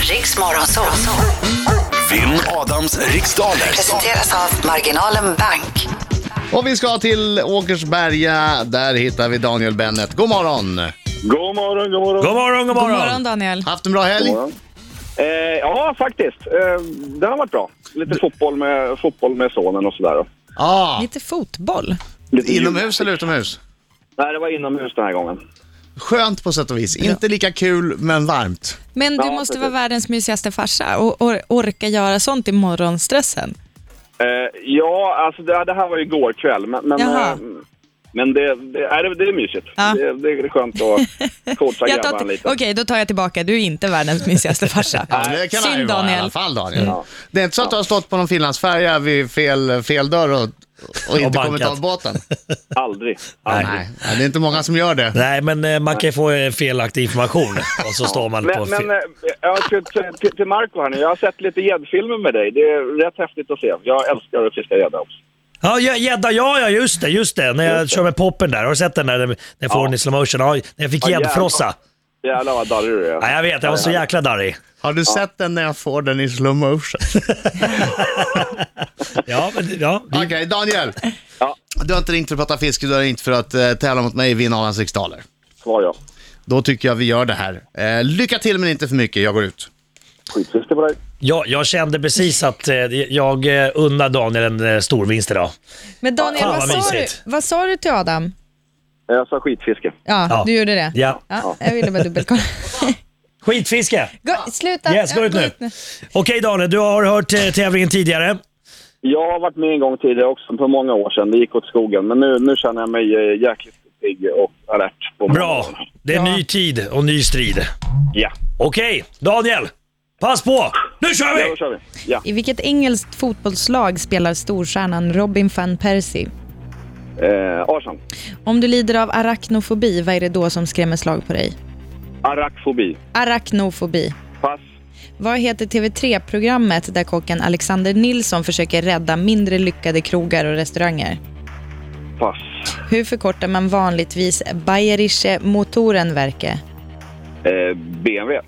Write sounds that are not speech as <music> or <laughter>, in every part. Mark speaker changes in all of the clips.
Speaker 1: Riks Morgonzoo.
Speaker 2: Vinn Adams riksdaler.
Speaker 1: Presenteras av Marginalen Bank.
Speaker 3: Och vi ska till Åkersberga. Där hittar vi Daniel Bennet. God morgon!
Speaker 4: God morgon, god morgon.
Speaker 5: God morgon, god
Speaker 6: God
Speaker 5: morgon!
Speaker 6: morgon Daniel.
Speaker 3: Haft en bra helg?
Speaker 4: Eh, ja, faktiskt. Eh, det har varit bra. Lite fotboll med, fotboll med sonen och sådär.
Speaker 3: Ja.
Speaker 6: Lite fotboll.
Speaker 4: Lite
Speaker 3: Inomhus eller utomhus?
Speaker 4: Nej, det var inomhus den här gången.
Speaker 3: Skönt på sätt och vis. Inte lika kul, men varmt.
Speaker 6: Men du
Speaker 4: Ja,
Speaker 6: måste
Speaker 4: precis.
Speaker 6: vara världens mysigaste farsa och, och orka göra sånt i morgonstressen.
Speaker 4: Eh, ja, alltså det, det här var ju igår kväll, men... men
Speaker 6: Jaha.
Speaker 4: eh, men det, det, nej, det, det är mysigt.
Speaker 6: Ja.
Speaker 4: Det, det är skönt att coacha
Speaker 6: Jag tar-
Speaker 4: grabbarna lite.
Speaker 6: Okej, då tar jag tillbaka. Du är inte världens mysigaste farsa.
Speaker 3: det kan han ju
Speaker 6: Synd
Speaker 3: vara i
Speaker 6: Daniel.
Speaker 3: alla fall, Daniel.
Speaker 4: Ja.
Speaker 3: Det är inte så att du har stått på någon finlandsfärja vid fel, fel dörr och, och inte
Speaker 5: bankat.
Speaker 3: kommit av båten?
Speaker 4: Aldrig. aldrig.
Speaker 3: Nej, det är inte många som gör det.
Speaker 5: Nej, men eh, man kan ju få eh,
Speaker 4: <laughs>
Speaker 5: felaktig information och så står man på
Speaker 4: Men, men
Speaker 5: fel...
Speaker 4: eh, jag ska, till, till, till Marco här nu, jag har sett lite gäddfilmer med dig. Det är rätt häftigt att se. Jag älskar att fiska gädda också.
Speaker 5: Ja, gä- gädda, ja, ja, just det, just det. När jag
Speaker 4: Just det.
Speaker 5: kör med poppen där. Har du sett den där? När jag får
Speaker 4: Ja.
Speaker 5: den i slow motion. Ja, när jag fick
Speaker 4: Ja, jävlar.
Speaker 5: gäddfrossa.
Speaker 4: Jävlar vad darrig du är.
Speaker 5: Ja, jag vet, jag var så jäkla darrig.
Speaker 3: Har du sett den när jag får den i slow motion?
Speaker 5: Ja, men ja.
Speaker 3: Okej, Daniel.
Speaker 4: Ja.
Speaker 3: Du har inte ringt för att prata fiske, du har ringt för att eh, tävla mot mig i Vinn Adams riksdaler.
Speaker 4: Svar ja.
Speaker 3: Då tycker jag vi gör det här. Eh, lycka till men inte för mycket, jag går ut.
Speaker 4: Skitfiske på dig.
Speaker 5: Jag, jag kände precis att eh, jag eh, unnar Daniel en eh, stor vinst idag.
Speaker 6: Men Daniel, vad,
Speaker 5: Fan, vad
Speaker 6: sa du,
Speaker 5: mysigt.
Speaker 6: vad sa du till Adam?
Speaker 4: Jag sa skitfiske.
Speaker 6: Ja,
Speaker 5: Ja.
Speaker 6: du gjorde det?
Speaker 5: Ja.
Speaker 6: ja jag ville bara dubbelkolla. <laughs>
Speaker 5: Skitfiske!
Speaker 6: Gå, sluta!
Speaker 5: Yes, gå ut nu. Okej Daniel, du har hört eh, tävlingen tidigare.
Speaker 4: Jag har varit med en gång tidigare också, för många år sedan. Det gick åt skogen. Men nu, nu känner jag mig eh, jäkligt pigg och alert. På
Speaker 5: Bra!
Speaker 4: morgonen.
Speaker 5: Det är ny tid och ny strid.
Speaker 4: Ja,
Speaker 5: Okej, Daniel! Pass på! Nu kör
Speaker 4: ja då
Speaker 5: vi!
Speaker 4: kör vi. Ja.
Speaker 6: I vilket engelskt fotbollslag spelar storstjärnan Robin van Persie?
Speaker 4: Eh, Arsan.
Speaker 6: Om du lider av arachnofobi, vad är det då som skrämmer slag på dig?
Speaker 4: Arachfobi.
Speaker 6: Arachnofobi.
Speaker 4: Pass.
Speaker 6: Vad heter TV3-programmet där kocken Alexander Nilsson försöker rädda mindre lyckade krogar och restauranger?
Speaker 4: Pass.
Speaker 6: Hur förkortar man vanligtvis Bayerische Motorenwerke?
Speaker 4: Eh, BMW.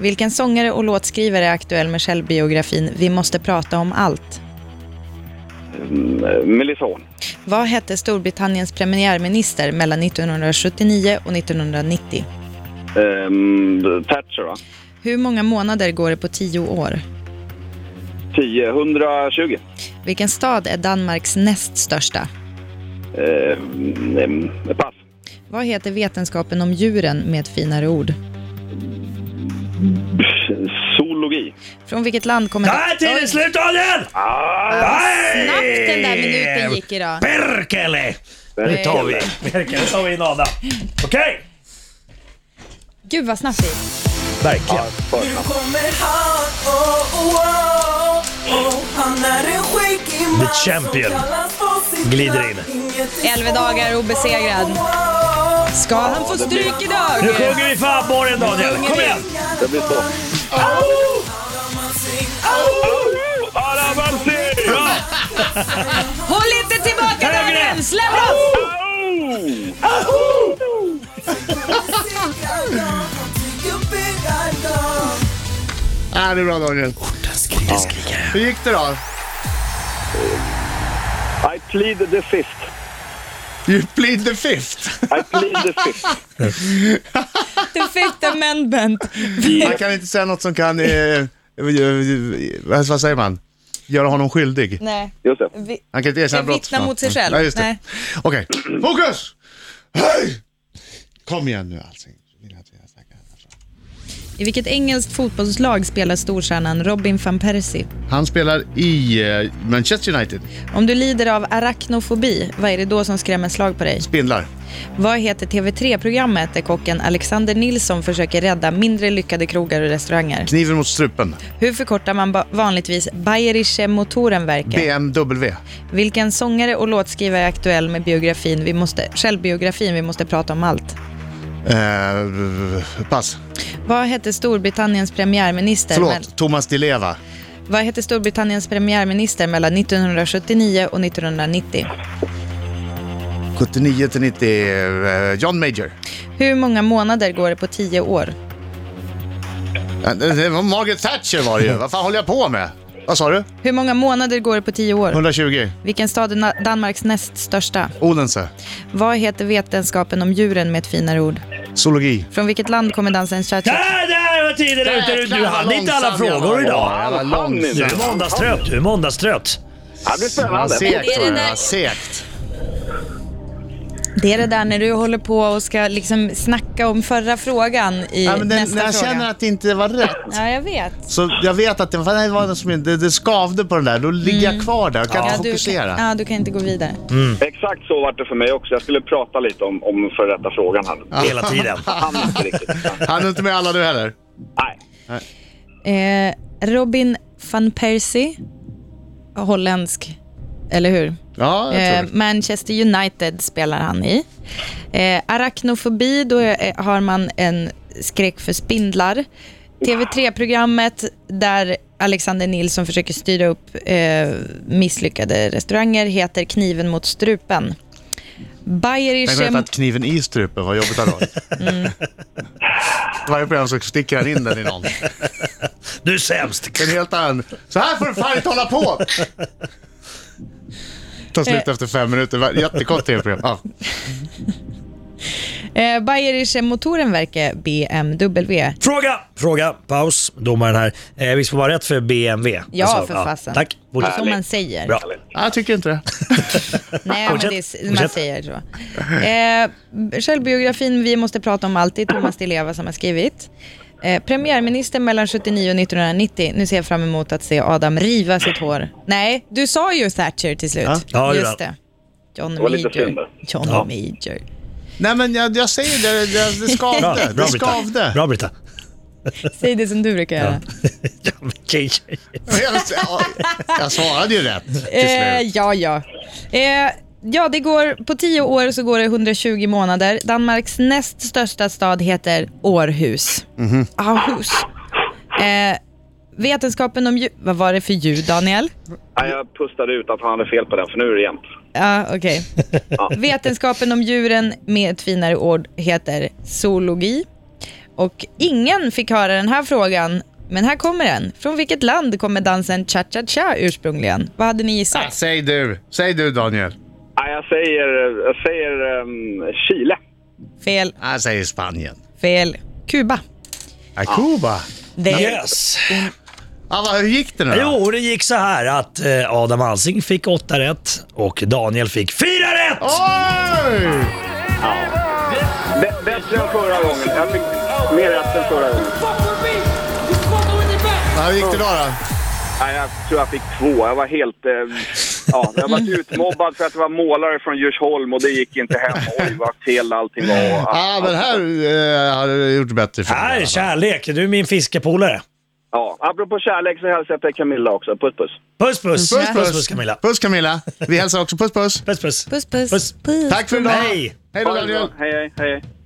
Speaker 6: Vilken sångare och låtskrivare är aktuell med självbiografin Vi måste prata om allt?
Speaker 4: Mm, eh, Melissa Horn.
Speaker 6: Vad hette Storbritanniens premiärminister mellan 1979 och 1990?
Speaker 4: Eh, Thatcher, va?
Speaker 6: Hur många månader går det på tio år?
Speaker 4: 10. 120.
Speaker 6: Vilken stad är Danmarks näst största?
Speaker 4: Eh, mm, pass.
Speaker 6: Vad heter vetenskapen om djuren med ett finare ord?
Speaker 4: Zoologi.
Speaker 6: Från vilket land kommer...
Speaker 5: Där tiden är
Speaker 6: Oj,
Speaker 5: slut Daniel!
Speaker 4: Ah,
Speaker 5: Nej!
Speaker 6: Snabbt den där minuten gick idag.
Speaker 5: Perkele! Nu tar vi. Perkele tar vi in Adam. Okej!
Speaker 6: Gud vad snabbt det gick.
Speaker 5: Verkligen.
Speaker 7: Kommer han, oh, oh, oh, oh. Han är en skäggig man
Speaker 5: The champion.
Speaker 7: som kallas på sitt
Speaker 5: Glider
Speaker 7: namn.
Speaker 5: in.
Speaker 7: Inget är Oh,
Speaker 6: Elva dagar obesegrad.
Speaker 7: svårt.
Speaker 6: Ska han få stryk
Speaker 5: Nu
Speaker 6: idag?
Speaker 5: sjunger vi för abborren Daniel. Kom igen!
Speaker 4: det blir så. Adam Alsing!
Speaker 5: Bra!
Speaker 6: Håll inte tillbaka
Speaker 5: Högre!
Speaker 6: Daniel! Släpp loss!
Speaker 3: Ja, Äh, det är bra Daniel. Hur gick det då?
Speaker 4: I plead the fifth.
Speaker 3: You plead the fifth.
Speaker 4: I plead the fifth.
Speaker 6: The fifth amendment.
Speaker 3: Man kan inte säga något som kan, eh, eh, eh, vad säger man, göra honom skyldig.
Speaker 6: Nej.
Speaker 4: Just det.
Speaker 6: Vi,
Speaker 3: Han kan inte erkänna
Speaker 6: vittna
Speaker 3: brott. va?
Speaker 6: mot sig själv.
Speaker 3: Ja, just det.
Speaker 6: Nej.
Speaker 3: Okej, fokus! Hej! Kom igen nu alltså. Alsing. Vill jag att vi snackar härifrån.
Speaker 6: I vilket engelskt fotbollslag spelar storstjärnan Robin van Persie?
Speaker 3: Han spelar i eh, Manchester United.
Speaker 6: Om du lider av arachnofobi, vad är det då som skrämmer slag på dig?
Speaker 3: Spindlar.
Speaker 6: Vad heter TV3-programmet där kocken Alexander Nilsson försöker rädda mindre lyckade krogar och restauranger?
Speaker 3: Kniven mot strupen.
Speaker 6: Hur förkortar man ba- vanligtvis Bayerische Motorenwerke?
Speaker 3: BMW.
Speaker 6: Vilken sångare och låtskrivare är aktuell med biografin vi måste, självbiografin Vi måste prata om allt?
Speaker 3: Eh, pass.
Speaker 6: Vad hette Storbritanniens premiärminister? mell-
Speaker 3: Förlåt, Thomas Di Leva.
Speaker 6: vad hette Storbritanniens premiärminister mellan 1979 och 1990?
Speaker 3: 79 till 90, eh, John Major.
Speaker 6: Hur många månader går det på tio år?
Speaker 3: Ja, Det det var Margaret Thatcher var det ju. Vad fan håller jag på med? Vad sa du?
Speaker 6: Hur många månader går det på tio år?
Speaker 3: 120?
Speaker 6: Vilken stad är na- Danmarks näst största?
Speaker 3: Odense?
Speaker 6: Vad heter vetenskapen om djuren med ett finare ord?
Speaker 3: Zoologi?
Speaker 6: Från vilket land kommer dansen cha-cha?
Speaker 5: Där, där var tiden ute! Du, du hann inte alla frågor idag.
Speaker 3: Jävla
Speaker 5: Du
Speaker 3: långsam.
Speaker 5: är måndagstrött, du är måndagstrött.
Speaker 4: Ja, det blir
Speaker 3: Vad
Speaker 4: spännande.
Speaker 3: segt var
Speaker 8: det
Speaker 3: det.
Speaker 8: där-
Speaker 3: Vad segt.
Speaker 6: Det är det där när du håller på och ska liksom snacka om förra frågan i
Speaker 3: Ja, men det,
Speaker 6: nästa
Speaker 3: när jag
Speaker 6: fråga.
Speaker 3: känner att det inte var rätt.
Speaker 6: Ja, jag vet.
Speaker 3: Så jag vet att det, fan, det var något som, det, det skavde på den där. Då ligger jag kvar där och kan
Speaker 6: Mm. Ja,
Speaker 3: inte
Speaker 6: du, kan,
Speaker 3: fokusera.
Speaker 6: ja, du kan inte gå vidare.
Speaker 4: Exakt så var det för mig också. Jag skulle prata lite om, om före detta frågan här.
Speaker 5: Hela tiden.
Speaker 4: Han inte riktigt. Ja.
Speaker 3: Han är inte med alla du heller.
Speaker 4: Nej.
Speaker 6: Eh, Robin van Persie, holländsk, eller hur?
Speaker 3: Ja, jag
Speaker 6: Eh,
Speaker 3: tror det.
Speaker 6: Manchester United spelar han i. Eh, arachnofobi, då eh, har man en skräck för spindlar. TV3-programmet där Alexander Nilsson försöker styra upp eh, misslyckade restauranger heter Kniven mot strupen.
Speaker 3: Tänk om jag
Speaker 6: Bayerische...
Speaker 3: tagit kniven i strupen, vad jobbigt det hade varit. Varje program så sticker han in den i någon.
Speaker 5: Du är sämst.
Speaker 3: En helt annan. Så här får du fan inte hålla på! Ta slut efter fem minuter. Va- Jättekort tv-program. Ja.
Speaker 6: Eh, Bayerische Motorenwerke, BMW.
Speaker 5: Fråga! Fråga, paus, domaren här. Eh, visst får man rätt för BMW?
Speaker 6: Ja, för fasen.
Speaker 5: Alltså, Tack, fortsätt.
Speaker 6: Som man säger.
Speaker 5: Bra.
Speaker 3: Ja, Jag tycker inte det.
Speaker 6: Nej, men
Speaker 5: Fortsätt.
Speaker 6: det, är- man
Speaker 5: Fortsätt.
Speaker 6: säger så. Eh, självbiografin Vi måste prata om alltid, Thomas Di Leva som har skrivit. Eh, premiärminister mellan 79 och 1990. Nu ser jag fram emot att se Adam riva sitt hår. Nej, du sa ju Thatcher till slut.
Speaker 5: Ja, det
Speaker 6: Just
Speaker 5: gjorde
Speaker 6: det. John
Speaker 4: var lite synd
Speaker 6: Major.
Speaker 4: där.
Speaker 6: John
Speaker 5: Ja.
Speaker 6: Major.
Speaker 3: Nej men jag, jag säger det, det, det
Speaker 5: Bra,
Speaker 3: skavde.
Speaker 5: bra
Speaker 3: Det
Speaker 5: Britta.
Speaker 3: skavde.
Speaker 5: Bra Britta.
Speaker 6: Säg det som du brukar göra.
Speaker 5: Ja, men tjej, tjej.
Speaker 3: Jag- Jag svarade ju rätt till
Speaker 6: Eh,
Speaker 3: slut.
Speaker 6: ja, ja. Eh, ja, det går, på tio år så går det 120 månader. Danmarks näst största stad heter Århus.
Speaker 3: Mhm.
Speaker 6: Aarhus. Eh, vetenskapen om ljud... Vad var det för ljud, Daniel?
Speaker 4: Nej, jag pustade ut att han hade fel på den, för nu är det jämnt.
Speaker 6: Ja, Ah,
Speaker 3: <laughs>
Speaker 6: okej. Vetenskapen om djuren med ett finare ord heter zoologi. Och ingen fick höra den här frågan, men här kommer den. Från vilket land kommer dansen cha-cha-cha ursprungligen? Vad hade ni
Speaker 3: Ah,
Speaker 6: gissat?
Speaker 3: Säg du. Säg du Daniel.
Speaker 4: Nej, jag säger, jag säger ehm, Chile.
Speaker 3: Ah.
Speaker 6: Fel,
Speaker 3: Jag säger Spanien.
Speaker 6: fel. Kuba.
Speaker 3: Ja, Kuba.
Speaker 6: Det
Speaker 5: Yes!
Speaker 3: Ja, vad, hur gick det nu då?
Speaker 5: Jo, det gick så här att eh, Adam Alsing fick åtta rätt och Daniel fick fyra rätt!
Speaker 3: Oj!
Speaker 4: Bä- Bättre än förra gången. Jag fick mer rätt än förra gången.
Speaker 7: Fuck with me, you fucking with your back.
Speaker 3: Ja, hur gick det då? då?
Speaker 4: Nej, jag tror jag fick två. Jag var helt... Eh, ja, jag var utmobbad för att jag var målare från Djursholm och det gick inte hem. Oj, vad fel allting var.
Speaker 3: Ja, Ah, men här eh, har du gjort bättre för
Speaker 5: Här, kärlek. Du är min fiskepolare.
Speaker 4: Ja, apropå kärlek så hälsar jag till Camilla också. Puss, puss.
Speaker 5: Puss puss.
Speaker 3: Puss, puss.
Speaker 5: puss, puss Camilla.
Speaker 3: Puss Camilla. Vi hälsar också puss puss.
Speaker 5: Puss puss.
Speaker 6: Puss, puss.
Speaker 5: Puss.
Speaker 3: Tack för idag.
Speaker 5: Hej.
Speaker 3: Hej då Daniel.
Speaker 4: Hej, hej, hej.